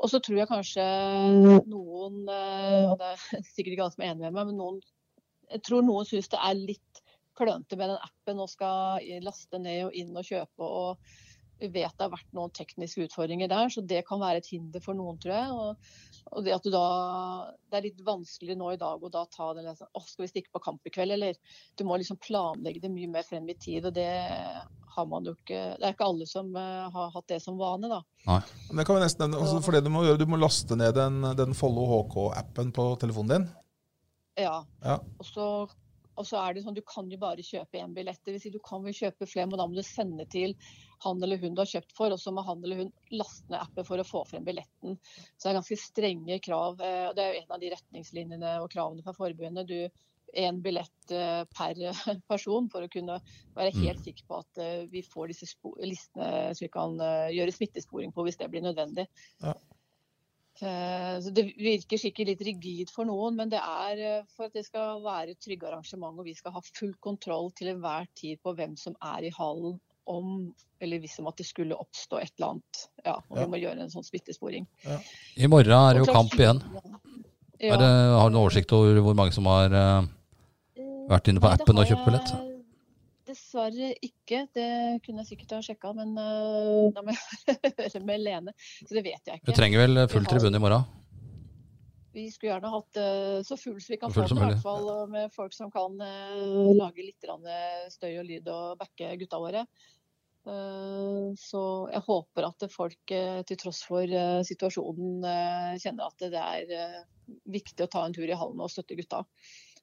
Speaker 3: Og så tror jeg kanskje noen, eh, og det er sikkert ikke alle som er enig med meg, men noen, jeg tror noen syns det er litt klønete med den appen og skal i- laste ned og inn og kjøpe. og vi vet det har vært noen tekniske utfordringer der, så det kan være et hinder for noen, tror jeg. Og og det at du da Det er litt vanskelig nå i dag å da ta den der sånn Å, skal vi stikke på kamp i kveld, eller? Du må liksom planlegge det mye mer frem i tid, og det har man jo ikke Det er ikke alle som eh, har hatt det som vane, da.
Speaker 2: Men Det kan vi nesten nevne. Også for det du må gjøre, du må laste ned den, den Follo HK-appen på telefonen din.
Speaker 3: Ja.
Speaker 2: Ja.
Speaker 3: Og så, og så er det sånn, du kan jo bare kjøpe én billett. Det vil si, du kan jo kjøpe flere, men da må du sende til han eller hun du har kjøpt for, og så må han eller hun laste ned appen for å få frem billetten. Så det er ganske strenge krav. eh, og Det er jo en av de retningslinjene og kravene fra forbundet. Du Én billett eh, per person for å kunne være helt sikker på at eh, vi får disse spo- listene som vi kan eh, gjøre smittesporing på hvis det blir nødvendig.
Speaker 2: Ja.
Speaker 3: Eh, Så det virker sikkert litt rigid for noen, men det er eh, for at det skal være trygge arrangement og vi skal ha full kontroll til enhver tid på hvem som er i hallen om eller hvis om at det skulle oppstå et eller annet. Ja, og
Speaker 2: Ja.
Speaker 3: vi må gjøre en sånn smittesporing.
Speaker 1: I morgen er det jo
Speaker 3: Og klart-
Speaker 1: kamp igjen.
Speaker 3: Ja.
Speaker 1: Er det, har du noen oversikt over hvor mange som har eh, vært inne på
Speaker 3: Nei, det
Speaker 1: appen og
Speaker 3: har
Speaker 1: kjøpt billett?
Speaker 3: jeg Dessverre ikke. Det kunne jeg sikkert ha sjekka, men øh, da må jeg høre med Lene. Så det vet jeg
Speaker 1: Du
Speaker 3: ikke.
Speaker 1: trenger vel full tribune i morgen?
Speaker 3: Vi skulle gjerne hatt øh, så full som vi kan
Speaker 1: Så
Speaker 3: få
Speaker 1: full
Speaker 3: den,
Speaker 1: som
Speaker 3: i
Speaker 1: mulig.
Speaker 3: hvert fall øh, med folk som kan øh, lage litt grann, øh, støy og lyd og backe gutta våre. Eh, Så jeg håper at folk eh, til tross for eh, situasjonen eh, kjenner at det er eh, viktig å ta en tur i hallen og støtte gutta.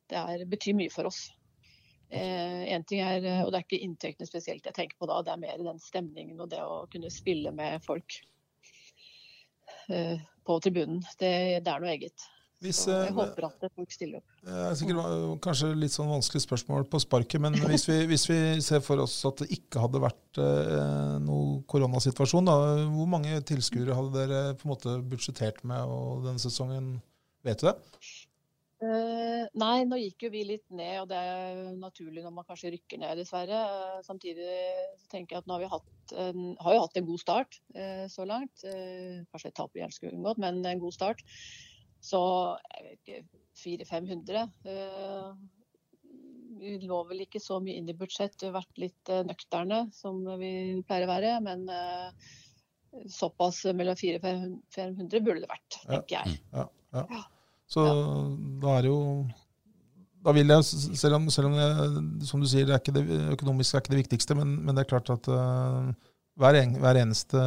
Speaker 3: Det er, betyr mye for oss. Eh, en ting er, eh, og Det er ikke inntektene spesielt jeg tenker på da, det er mer den stemningen og det å kunne spille med folk eh, på tribunen. Det, det er noe eget.
Speaker 2: Hvis,
Speaker 3: Så jeg
Speaker 2: eh,
Speaker 3: håper at folk stiller opp.
Speaker 2: Det er sikkert va- kanskje litt sånn vanskelig spørsmål på sparket, men hvis vi, hvis vi ser for oss at det ikke hadde vært eh, noe koronasituasjon, da, hvor mange tilskuere hadde dere på en måte budsjettert med og denne sesongen? Vet du det?
Speaker 3: Eh, nei, nå gikk jo vi litt ned, og det er jo naturlig når man kanskje rykker ned, dessverre. Eh, samtidig så tenker jeg at nå har vi hatt en, har jo hatt en god start eh, så langt. Eh, kanskje et tap vi gjerne skulle unngått, men en god start. Så jeg vet ikke, 400-500. Eh, vi lå vel ikke så mye inn i budsjett, vi har vært litt eh, nøkterne som vi pleier å være. Men eh, såpass mellom 400 og 500 burde det vært,
Speaker 2: Ja.
Speaker 3: tenker jeg.
Speaker 2: Ja, ja. Så da er det jo da vil jeg, s- selv om, selv om jeg, som du sier, det er ikke det, økonomisk er ikke det viktigste, men, men det er klart at eh, hver, en, hver eneste,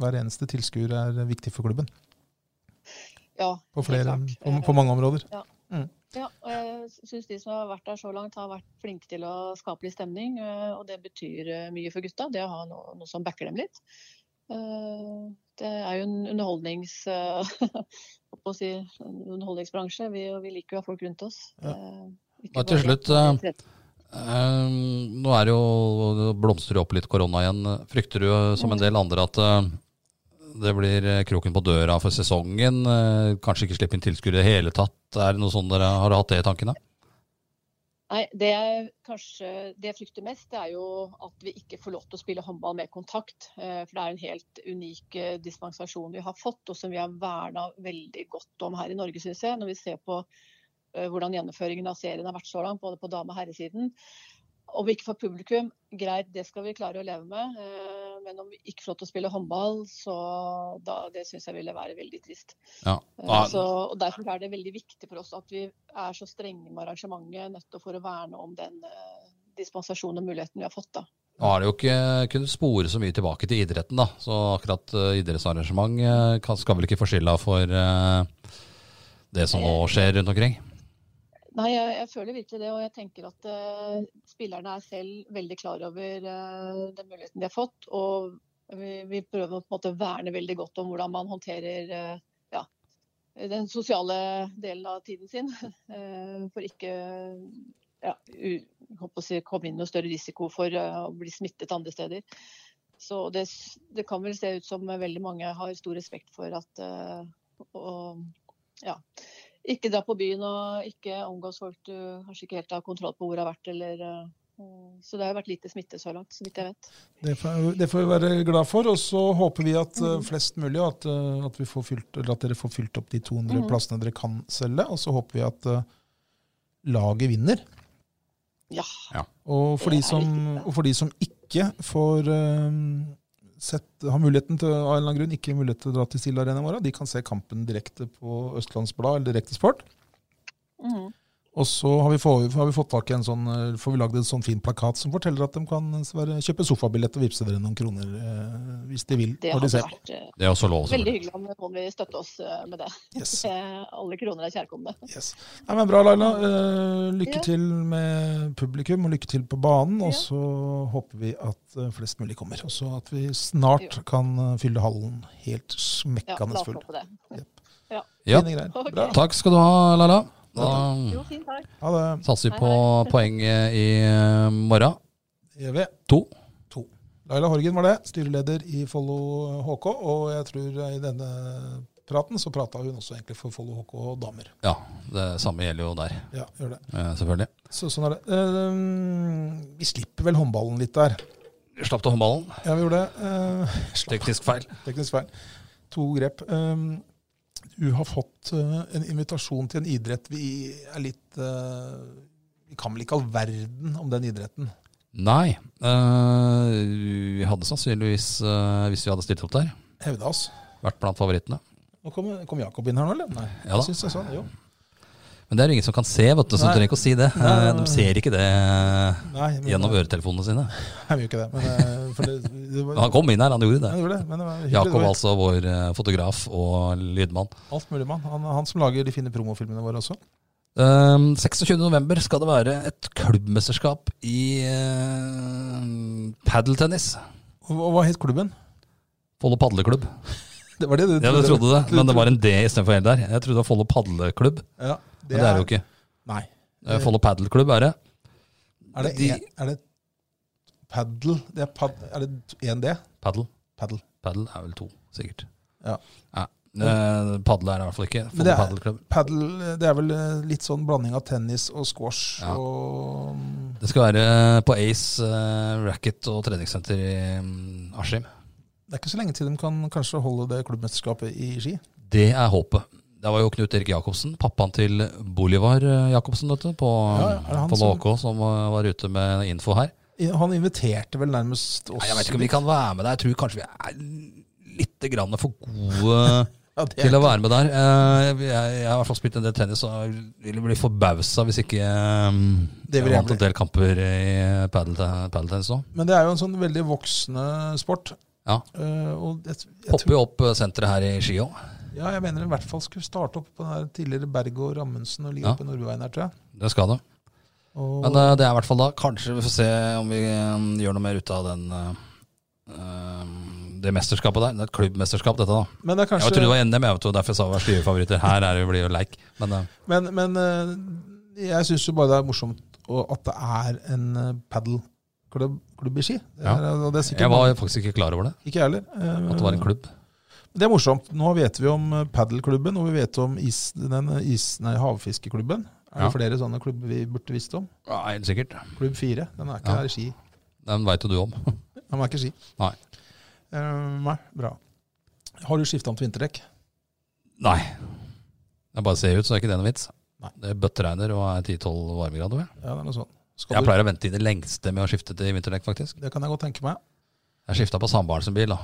Speaker 2: hver eneste tilskuer er viktig for klubben.
Speaker 3: Ja,
Speaker 2: på, flere,
Speaker 3: helt klart.
Speaker 2: på, på mange områder.
Speaker 3: Ja, og jeg syns de som har vært der så langt, har vært flinke til å skape litt stemning. eh, Og det betyr eh, mye for gutta, det å ha noe, noe som backer dem litt. Eh, Det er jo en underholdnings... eh, holdt på å si, en underholdningsbransje. Vi, og vi liker jo å ha folk rundt oss.
Speaker 2: Ja.
Speaker 3: Eh, ikke
Speaker 1: Og til
Speaker 3: bare-
Speaker 1: slutt, Ehm, nå er det jo, det blomstrer jo opp litt korona igjen. Frykter du som en del andre at eh, det blir eh, kroken på døra for sesongen? Eh, Kanskje ikke slippe inn tilskuere i det hele tatt? Er det noe sånn dere har dere hatt det i tankene?
Speaker 3: Nei, det jeg kanskje det jeg frykter mest, det er jo at vi ikke får lov til å spille håndball med kontakt. eh, For det er en helt unik eh, dispensasjon vi har fått, og som vi har verna veldig godt om her i Norge, syns jeg. Når vi ser på eh, hvordan gjennomføringen av serien har vært så langt, både på dame- og herresiden. Om vi ikke får publikum, greit, det skal vi klare å leve med. eh, Men om vi ikke får lov til å spille håndball, så da, det syns jeg ville være veldig trist.
Speaker 1: Ja.
Speaker 3: Eh, Så, og Derfor er det veldig viktig for oss at vi er så strenge med arrangementet, nettopp for å verne om den eh, dispensasjonen og muligheten vi har fått. da.
Speaker 1: Nå har det jo ikke kunnet spore så mye tilbake til idretten, da. Så akkurat eh, idrettsarrangement eh, kan- skal vel ikke få skylda for eh, det som nå skjer rundt omkring.
Speaker 3: Nei, jeg, jeg føler virkelig det, og jeg tenker at eh, spillerne er selv veldig klar over eh, den muligheten de har fått. Og vi, vi prøver å på en måte verne veldig godt om hvordan man håndterer eh, ja, den sosiale delen av tiden sin. eh, for ikke ja, u, håper å si, komme inn i noe større risiko for eh, å bli smittet andre steder. Så det, s- det kan vel se ut som veldig mange har stor respekt for at eh, og, ja, ikke dra på byen og ikke omgås folk du kanskje ikke helt har kontroll på hvor har vært. Eller, eh, så det har jo vært lite smitte så langt, så vidt jeg vet.
Speaker 2: Det får, det får vi være glad for. Og så håper vi at
Speaker 3: Mm.
Speaker 2: eh, flest mulig, og at, eh, at, vi får fylt, eller at dere får fylt opp de 200
Speaker 3: Mhm.
Speaker 2: plassene dere kan selge. Og så håper vi at eh, laget vinner.
Speaker 3: Ja.
Speaker 2: Og for,
Speaker 3: Det
Speaker 2: de
Speaker 3: er
Speaker 2: som,
Speaker 3: viktig, da.
Speaker 2: og for de som ikke får eh, sett, har muligheten til, av en eller annen grunn, ikke mulighet til å dra til Stille Arena i morgen, de kan se kampen direkte på Østlandsblad eller Direkte Sport.
Speaker 3: Mhm.
Speaker 2: Og så har vi, få, har vi fått tak i en sånn, eh, får vi lagd en sånn fin plakat som forteller at de kan eh, være, kjøpe sofabillett og vippse dere noen kroner eh, hvis de vil.
Speaker 3: Det
Speaker 2: når de
Speaker 3: hadde
Speaker 2: ser på.
Speaker 3: vært eh,
Speaker 1: Det er også lov,
Speaker 3: veldig
Speaker 1: selvfølgelig.
Speaker 3: hyggelig om noen vil støtte oss eh, med det.
Speaker 2: Yes,
Speaker 3: Eh, Alle kroner er kjærkomne.
Speaker 2: yes. Nei, men bra, Laila. Eh, lykke
Speaker 3: Ja.
Speaker 2: til med publikum, og lykke til på banen. Og
Speaker 3: Ja.
Speaker 2: så håper vi at eh, flest mulig kommer. Og så at vi snart kan eh, fylle hallen helt
Speaker 3: Ja,
Speaker 2: smekkende
Speaker 3: la oss
Speaker 2: full.
Speaker 3: håpe det.
Speaker 1: Ja.
Speaker 2: Fine greier.
Speaker 3: Ok.
Speaker 2: Bra.
Speaker 1: Takk skal du ha, Laila. Da
Speaker 3: Jo, fint, takk.
Speaker 2: Ha det.
Speaker 1: satser vi
Speaker 3: Hei,
Speaker 1: på poeng eh, i eh, morgen.
Speaker 2: Gjør vi.
Speaker 1: To.
Speaker 2: Laila Horgen var det, styreleder i Follo HK. Og jeg tror i denne praten så prata hun også egentlig for Follo HK damer.
Speaker 1: Ja, det samme gjelder jo der,
Speaker 2: Ja, gjør det.
Speaker 1: eh, selvfølgelig.
Speaker 2: Så sånn er det. Eh, vi slipper vel håndballen litt der.
Speaker 1: Slapp til håndballen.
Speaker 2: Ja, vi gjorde det. Eh,
Speaker 1: Teknisk feil.
Speaker 2: teknisk feil. To grep. Eh, du har fått eh, en invitasjon til en idrett vi er litt eh, Vi kan vel ikke all verden om den idretten.
Speaker 1: Nei. eh, vi hadde sannsynligvis, eh, hvis vi hadde stilt opp der,
Speaker 2: Hevda oss.
Speaker 1: vært blant favorittene.
Speaker 2: Nå kom, kom Jakob inn her nå, eller? Nei,
Speaker 1: Ja da.
Speaker 2: jeg synes jeg så han, jo.
Speaker 1: Men det er jo ingen som kan se, vet du, så du
Speaker 2: Nei.
Speaker 1: trenger ikke å si det.
Speaker 2: Nei, nei,
Speaker 1: Eh,
Speaker 2: nei.
Speaker 1: De ser ikke det eh,
Speaker 2: Nei, men-
Speaker 1: gjennom øretelefonene sine.
Speaker 2: Nei, vi gjør ikke det. Men, eh, for det, det
Speaker 1: Men
Speaker 2: var,
Speaker 1: Han kom inn her, han gjorde
Speaker 2: Ja,
Speaker 1: det.
Speaker 2: det gjorde det, men det var hyggelig.
Speaker 1: Jakob,
Speaker 2: Det var
Speaker 1: altså vår eh, fotograf og lydmann.
Speaker 2: Alt mulig, mann. Han, han som lager de fine promofilmene våre også.
Speaker 1: Um, 26.11. skal det være et klubbmesterskap i uh, padeltennis.
Speaker 2: Og, og hva het klubben?
Speaker 1: Follo padleklubb.
Speaker 2: Det var det du
Speaker 1: Ja, du trodde det, men det var en D istedenfor L der. Jeg trodde det var Follo padleklubb,
Speaker 2: Ja,
Speaker 1: men det er det jo ikke.
Speaker 2: Nei.
Speaker 1: Eh, Follo padelklubb er det.
Speaker 2: Er det,
Speaker 1: De-
Speaker 2: en- er det paddle? Det er, pad, er det en D?
Speaker 1: Paddle.
Speaker 2: Paddle.
Speaker 1: Paddle er vel to, sikkert.
Speaker 2: Ja.
Speaker 1: Nei, eh, Padle er det i hvert fall ikke.
Speaker 2: Men det
Speaker 1: Follo
Speaker 2: er-
Speaker 1: padelklubb.
Speaker 2: Paddle det er vel eh, litt sånn blanding av tennis og squash
Speaker 1: Ja.
Speaker 2: og mm,
Speaker 1: Det skal være på Ace eh, racket og treningssenter i mm, Askim.
Speaker 2: Det er ikke så lenge til de kan kanskje holde det klubbmesterskapet i ski.
Speaker 1: Det er håpet. Det var jo Knut Erik Jacobsen, pappaen til Bolivar eh, Jacobsen, vet du, på mm,
Speaker 2: Ja, ja, er det han
Speaker 1: på
Speaker 2: som-
Speaker 1: HK, som eh, var ute med info her.
Speaker 2: I- Han inviterte vel nærmest oss
Speaker 1: Nei, jeg vet ikke om vi kan være med der. Jeg tror kanskje vi er litt grann for gode
Speaker 2: Ja, det
Speaker 1: til
Speaker 2: er,
Speaker 1: å være med der. Eh, Jeg, jeg har i hvert fall spilt en del tennis og jeg ville bli forbausa hvis ikke eh,
Speaker 2: Det
Speaker 1: jeg
Speaker 2: vil jeg
Speaker 1: vant
Speaker 2: bli.
Speaker 1: en del kamper i padel- padeltennis nå.
Speaker 2: men det er jo en sånn veldig voksende sport.
Speaker 1: Ja.
Speaker 2: Eh, og jeg, jeg tror-
Speaker 1: Popper jo opp eh, senteret her i Ski òg.
Speaker 2: Ja, jeg mener i hvert fall skulle starte opp på den der tidligere Berg og Rammundsen og ligge
Speaker 1: Ja.
Speaker 2: oppe i Nordbyveien her, tror jeg.
Speaker 1: Det skal det.
Speaker 2: Og,
Speaker 1: Men eh, det er i hvert fall da. Kanskje vi får se om vi eh, gjør noe mer ut av den, eh, eh, det mesterskapet der. Det er et klubbmesterskap, dette, da.
Speaker 2: men det er
Speaker 1: Jeg
Speaker 2: kanskje
Speaker 1: trodde det var NM, jeg vet jo, derfor jeg sa det var styrefavoritter. Her er det jo blir jo leik. Men eh,
Speaker 2: Men, men eh, jeg syns jo bare det er morsomt og at det er en eh, padelklubb klubb i Ski. Det
Speaker 1: Ja.
Speaker 2: er, og det er sikkert
Speaker 1: jeg var faktisk ikke klar over det.
Speaker 2: Ikke jeg heller. Eh,
Speaker 1: At det var en klubb.
Speaker 2: Det er morsomt. Nå vet vi om eh, padelklubben, og vi vet om is, den eh, is, nei, havfiskeklubben. Er det
Speaker 1: Ja.
Speaker 2: flere sånne klubber vi burde visst om?
Speaker 1: Ja, Helt sikkert.
Speaker 2: Klubb fire. Den er ikke
Speaker 1: Ja.
Speaker 2: her i Ski.
Speaker 1: Den veit jo du om.
Speaker 2: Den er ikke i Ski.
Speaker 1: Nei.
Speaker 2: Eh, nei, bra. Har du skifta om til vinterdekk?
Speaker 1: Nei. Jeg bare ser ut, så er ikke det noe vits.
Speaker 2: Nei.
Speaker 1: Det bøtteregner og er 10-12 varmegrader. vel?
Speaker 2: Ja, det er noe sånt. Skal
Speaker 1: Jeg
Speaker 2: du,
Speaker 1: pleier å vente i det lengste med å skifte til vinterdekk, faktisk.
Speaker 2: det kan jeg godt tenke meg.
Speaker 1: Jeg skifta på samboeren sin bil. da.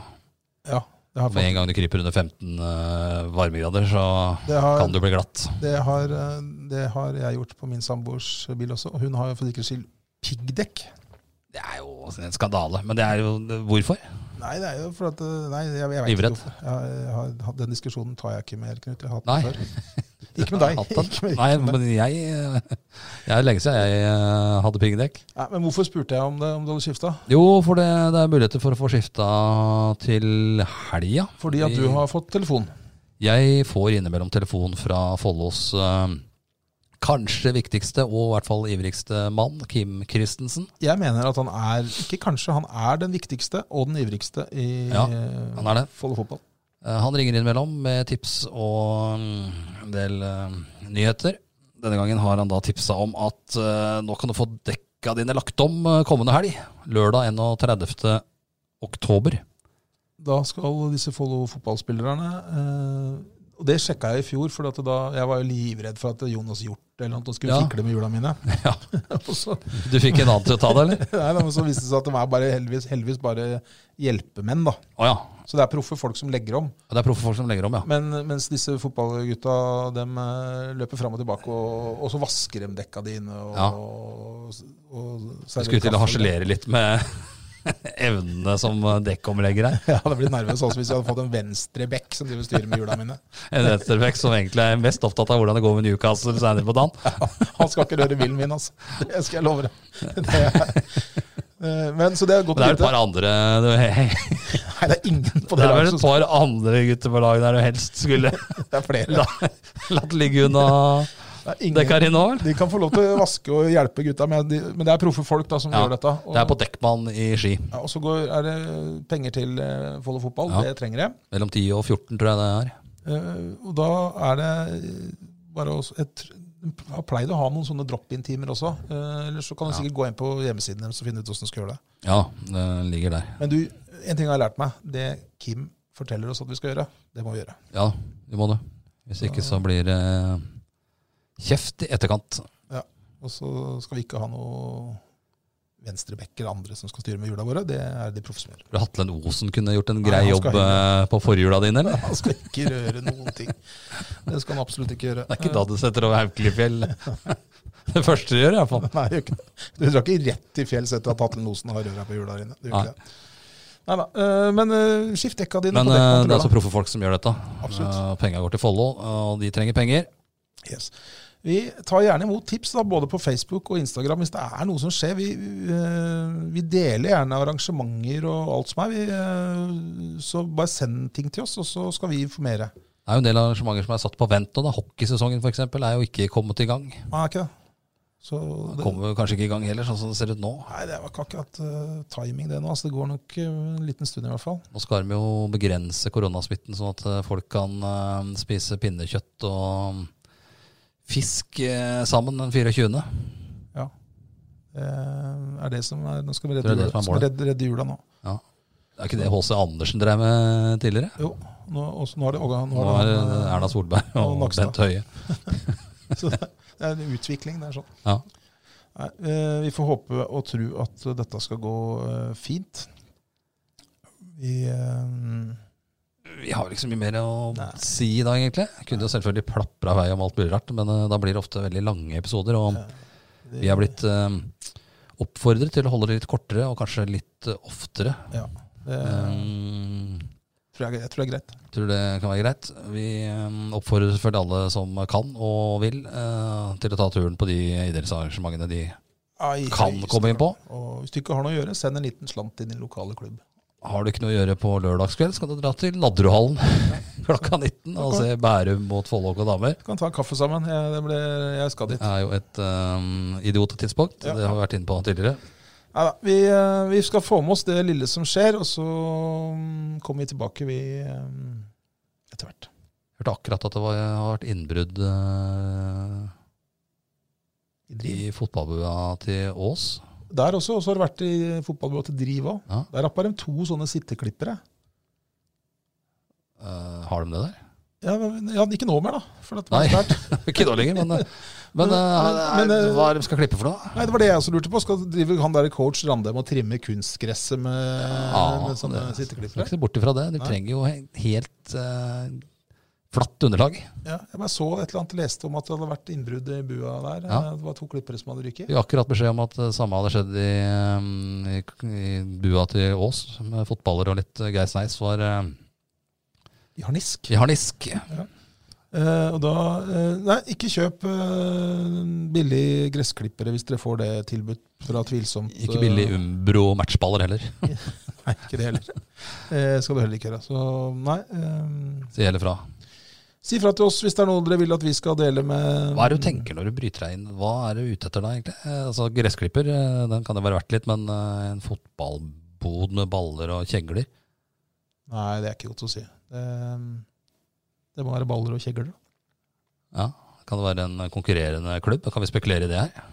Speaker 2: Ja, det har,
Speaker 1: Med en
Speaker 2: fått,
Speaker 1: gang du kryper under 15 eh, varmegrader, så
Speaker 2: det, har,
Speaker 1: kan du bli glatt.
Speaker 2: det, har, eh, det har jeg gjort på min samboers bil også. Og hun har jo for sikkerhets skyld piggdekk.
Speaker 1: Det er jo en skandale. Men det er jo Hvorfor?
Speaker 2: Nei, det er jo for at eh, Nei, jeg, jeg vet
Speaker 1: Livredd.
Speaker 2: ikke hvorfor. Jeg, jeg har, hatt- den diskusjonen tar jeg ikke mer, Knut. Jeg har hatt
Speaker 1: Nei.
Speaker 2: den før. Ikke med deg.
Speaker 1: Hatt den.
Speaker 2: Ikke med,
Speaker 1: Nei,
Speaker 2: ikke med deg.
Speaker 1: men jeg Det er lenge siden jeg eh, hadde piggdekk.
Speaker 2: Nei, men hvorfor spurte jeg om, det, om du hadde skifta?
Speaker 1: Jo, for det, det er muligheter for å få skifta til helga.
Speaker 2: Fordi at du har fått telefon.
Speaker 1: Jeg får innimellom telefon fra Follos eh, kanskje viktigste og i hvert fall ivrigste mann, Kim Christensen.
Speaker 2: Jeg mener at han er ikke kanskje, han er den viktigste og den ivrigste i
Speaker 1: Ja,
Speaker 2: eh,
Speaker 1: Han er det.
Speaker 2: Follo fotball.
Speaker 1: Eh, Han ringer innimellom med tips og mm, en del eh, nyheter. Denne gangen har han da tipsa om at eh, nå kan du få dekka dine lagt om eh, kommende helg. Lørdag 31. oktober.
Speaker 2: Da skal disse Follo fotballspillerne eh, Og det sjekka jeg i fjor, for at da, jeg var jo livredd for at Jonas Hjort eller noe skulle
Speaker 1: Ja.
Speaker 2: fikle med hjula mine.
Speaker 1: Ja.
Speaker 2: og så,
Speaker 1: Du fikk en annen til å ta det, eller?
Speaker 2: nei, da, men så viste det seg at de er bare heldigvis, heldigvis bare hjelpemenn, da.
Speaker 1: Å ja.
Speaker 2: Så det er proffe folk som legger om.
Speaker 1: Det er proffe folk som legger om, ja.
Speaker 2: Men mens disse fotballgutta dem eh, løper fram og tilbake, og, og så vasker de dekka dine og,
Speaker 1: Ja.
Speaker 2: og, og
Speaker 1: Jeg skulle til å harselere litt med evnene som dekkomlegger her.
Speaker 2: Jeg hadde blitt nervøs også hvis jeg hadde fått en venstre bekk som driver og styrer med hjula mine.
Speaker 1: En venstrebekk som egentlig er mest opptatt av hvordan det går med Newcastle senere på dagen.
Speaker 2: Han skal ikke røre bilen min, altså. Det skal jeg love deg. Det er- eh, Men så det er godt
Speaker 1: Men det
Speaker 2: å
Speaker 1: er et
Speaker 2: vite.
Speaker 1: par andre det er
Speaker 2: Nei, det er ingen på det
Speaker 1: vel
Speaker 2: laget
Speaker 1: et
Speaker 2: som
Speaker 1: par andre gutter på laget der du helst skulle
Speaker 2: Det er flere.
Speaker 1: La, latt ligge unna
Speaker 2: Det er ingen.
Speaker 1: dekkarina òg, eller?
Speaker 2: De kan få lov til å vaske og hjelpe gutta, men, de, men det er proffe folk da som
Speaker 1: Ja,
Speaker 2: gjør dette. Og,
Speaker 1: Det er på Dekkmann i Ski.
Speaker 2: ja, og så går, er det penger til eh, Follo fotball.
Speaker 1: Ja.
Speaker 2: Det trenger jeg.
Speaker 1: Mellom 10 og 14, tror jeg det er.
Speaker 2: Eh, og da er det eh, bare å jeg tr- jeg har pleid å ha noen sånne drop-in-timer også. Eh, Eller så kan du
Speaker 1: Ja.
Speaker 2: sikkert gå inn på hjemmesiden deres og finne ut hvordan du skal gjøre det.
Speaker 1: Ja, det ligger der.
Speaker 2: Men du, en ting jeg har lært meg. Det Kim forteller oss at vi skal gjøre, det må vi gjøre.
Speaker 1: Ja, du må det. Hvis ikke så blir det kjeft i etterkant.
Speaker 2: Og så skal vi ikke ha noe venstreback eller andre som skal styre med hjula våre. Det er de proffe som gjør.
Speaker 1: Tror du Hatlen Osen kunne gjort en
Speaker 2: Nei,
Speaker 1: grei
Speaker 2: han
Speaker 1: jobb
Speaker 2: skal
Speaker 1: eh, på forhjula dine, eller?
Speaker 2: Han skal ikke røre noen ting. Det skal han absolutt ikke gjøre.
Speaker 1: Det er ikke da du setter over Haukelifjell. Det første du gjør, iallfall.
Speaker 2: Nei, gjør ikke det. Du drar ikke rett til fjells etter at Hatlen Osen har røra på hjula dine. Du gjør
Speaker 1: Nei.
Speaker 2: ikke det. Nei da. eh, Men eh, skift dekka dine
Speaker 1: Men
Speaker 2: på
Speaker 1: eh,
Speaker 2: dekkene
Speaker 1: det
Speaker 2: til
Speaker 1: er altså
Speaker 2: lørdag.
Speaker 1: proffe folk som gjør dette.
Speaker 2: Absolutt.
Speaker 1: Eh, Penga går til Follo, eh, og de trenger penger.
Speaker 2: Yes. Vi tar gjerne imot tips da, både på Facebook og Instagram hvis det er noe som skjer. Vi, eh, vi deler gjerne arrangementer og alt som er. Vi, eh, så bare send ting til oss, og så skal vi informere.
Speaker 1: Det er jo en del arrangementer som er satt på vent. Og da Hockeysesongen for eksempel, er jo ikke kommet i gang.
Speaker 2: Nei, er ikke det? Så
Speaker 1: Den
Speaker 2: det,
Speaker 1: Kommer jo kanskje ikke i gang heller, sånn som det ser ut nå.
Speaker 2: nei, det var ikke akkurat eh, timing det nå. Altså, det går nok eh, en liten stund i hvert fall.
Speaker 1: Nå skal de jo begrense koronasmitten, sånn at eh, folk kan eh, spise pinnekjøtt og mm, fisk eh, sammen den 24.
Speaker 2: Ja. Det er det som er, nå skal vi
Speaker 1: Det er
Speaker 2: redde,
Speaker 1: det
Speaker 2: jula,
Speaker 1: som er
Speaker 2: skal vi redde, redde jula nå.
Speaker 1: Det er ikke det H.C. Andersen drev med tidligere?
Speaker 2: Jo, nå, også, nå er det, og, nå
Speaker 1: Nå
Speaker 2: er
Speaker 1: er
Speaker 2: det,
Speaker 1: det Erna Solberg
Speaker 2: og
Speaker 1: og
Speaker 2: Nakstad.
Speaker 1: Bent Høie.
Speaker 2: Så det det er en utvikling. det er sånn.
Speaker 1: Ja.
Speaker 2: Nei, eh, vi får håpe og tro at dette skal gå eh, fint. Vi, eh,
Speaker 1: Vi har vel ikke så mye mer å
Speaker 2: Nei.
Speaker 1: si i dag, egentlig. Kunne jo selvfølgelig plapra i vei om alt mulig rart, men eh, da blir det ofte veldig lange episoder. Og
Speaker 2: det-
Speaker 1: vi er blitt eh, oppfordret til å holde det litt kortere og kanskje litt eh, oftere.
Speaker 2: ja, det,
Speaker 1: Um,
Speaker 2: Tror jeg, jeg tror det er greit.
Speaker 1: Tror det kan være greit. Vi eh, oppfordrer selvfølgelig alle som kan og vil, eh, til å ta turen på de idrettsarrangementene de
Speaker 2: Ai,
Speaker 1: kan
Speaker 2: høyeste
Speaker 1: komme inn på.
Speaker 2: Og hvis du ikke har noe å gjøre, send en liten slant til din lokale klubb.
Speaker 1: Har du ikke noe å gjøre på lørdagskveld, skal du dra til Nadderudhallen klokka 19 og se Bærum mot Follåk og damer.
Speaker 2: Vi kan ta en kaffe sammen. Jeg, det ble, jeg skal dit.
Speaker 1: Det er jo et um, idiottidspunkt.
Speaker 2: Ja.
Speaker 1: Det har vi vært inne på tidligere.
Speaker 2: Neida, vi, eh, vi skal få med oss det lille som skjer, og så mm, kommer vi tilbake vi eh, etter hvert.
Speaker 1: Hørte akkurat at det var, har vært innbrudd eh, i fotballbua til Ås.
Speaker 2: Der også, og så har det vært i fotballbua til Driv òg.
Speaker 1: Ja.
Speaker 2: Der rappa de to sånne sitteklippere.
Speaker 1: Eh, har de det der?
Speaker 2: Ja, men, ja, ikke nå mer, da. For at det var
Speaker 1: Nei.
Speaker 2: sterkt.
Speaker 1: ikke nå lenger, men, eh, men, eh,
Speaker 2: Men- men, eh,
Speaker 1: hva er det de skal klippe for noe?
Speaker 2: Nei, Det var det jeg også lurte på. Skal drive han der coach Randem og trimme kunstgresset med, med sånne
Speaker 1: Ah, det- Skal
Speaker 2: sitteklippere?
Speaker 1: ikke se bort ifra det. De
Speaker 2: Nei.
Speaker 1: trenger jo he- helt eh, flatt underlag.
Speaker 2: Ja, jeg bare så et eller annet leste om at det hadde vært innbrudd i bua der.
Speaker 1: Ja.
Speaker 2: Det var to klippere som hadde ryket.
Speaker 1: Vi har akkurat beskjed om at det samme hadde skjedd i, eh, i, i bua til Ås, med fotballer og litt eh, Geir Sneis var eh,
Speaker 2: I harnisk.
Speaker 1: i harnisk.
Speaker 2: Eh, og da eh, Nei, ikke kjøp eh, billig gressklippere hvis dere får det tilbudt fra tvilsomt
Speaker 1: Ikke billig
Speaker 2: eh,
Speaker 1: Umbro matchballer heller.
Speaker 2: Nei, ikke det heller. Eh, skal du heller ikke gjøre. Så nei. eh,
Speaker 1: Så gjelder fra.
Speaker 2: si fra til oss hvis det er noe dere vil at vi skal dele med
Speaker 1: Hva er det du tenker når du bryter deg inn? Hva er du ute etter da, egentlig? Eh, Altså, Gressklipper eh, den kan det være verdt litt, men eh, en fotballbod med baller og kjegler
Speaker 2: Nei, det er ikke godt å si. Det, det må være baller og kjegler. da.
Speaker 1: ja. Kan det være en konkurrerende klubb? Kan vi spekulere i det her?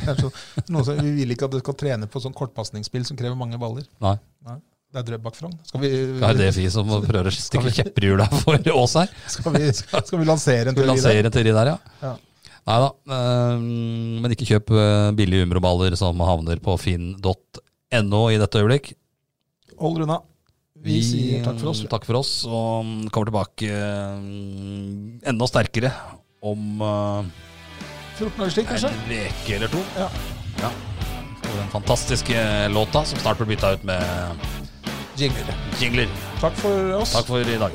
Speaker 2: Det er så, noen som, vi vil ikke at dere skal trene på sånn kortpasningsspill som krever mange baller.
Speaker 1: Nei.
Speaker 2: Det er Drøbak Frogn. Skal, vi-
Speaker 1: Er det vi som prøver å stikke kjepper i hjula for oss her?
Speaker 2: skal, vi- skal vi
Speaker 1: Skal vi
Speaker 2: lansere en teori der?
Speaker 1: lansere en teori der, ja?
Speaker 2: Ja.
Speaker 1: Nei da. eh, Men ikke kjøp eh, billige Umbro-baller som havner på finn.no i dette øyeblikk.
Speaker 2: Hold unna. Vi, sier takk for oss.
Speaker 1: Takk for oss, og mm, kommer tilbake mm, enda sterkere om eh,
Speaker 2: 14 dager slik, kanskje?
Speaker 1: en uke eller to.
Speaker 2: Ja.
Speaker 1: Ja. Og den fantastiske låta som snart blir bytta ut med
Speaker 2: Jingler.
Speaker 1: jingler.
Speaker 2: Takk for oss.
Speaker 1: Takk for i dag.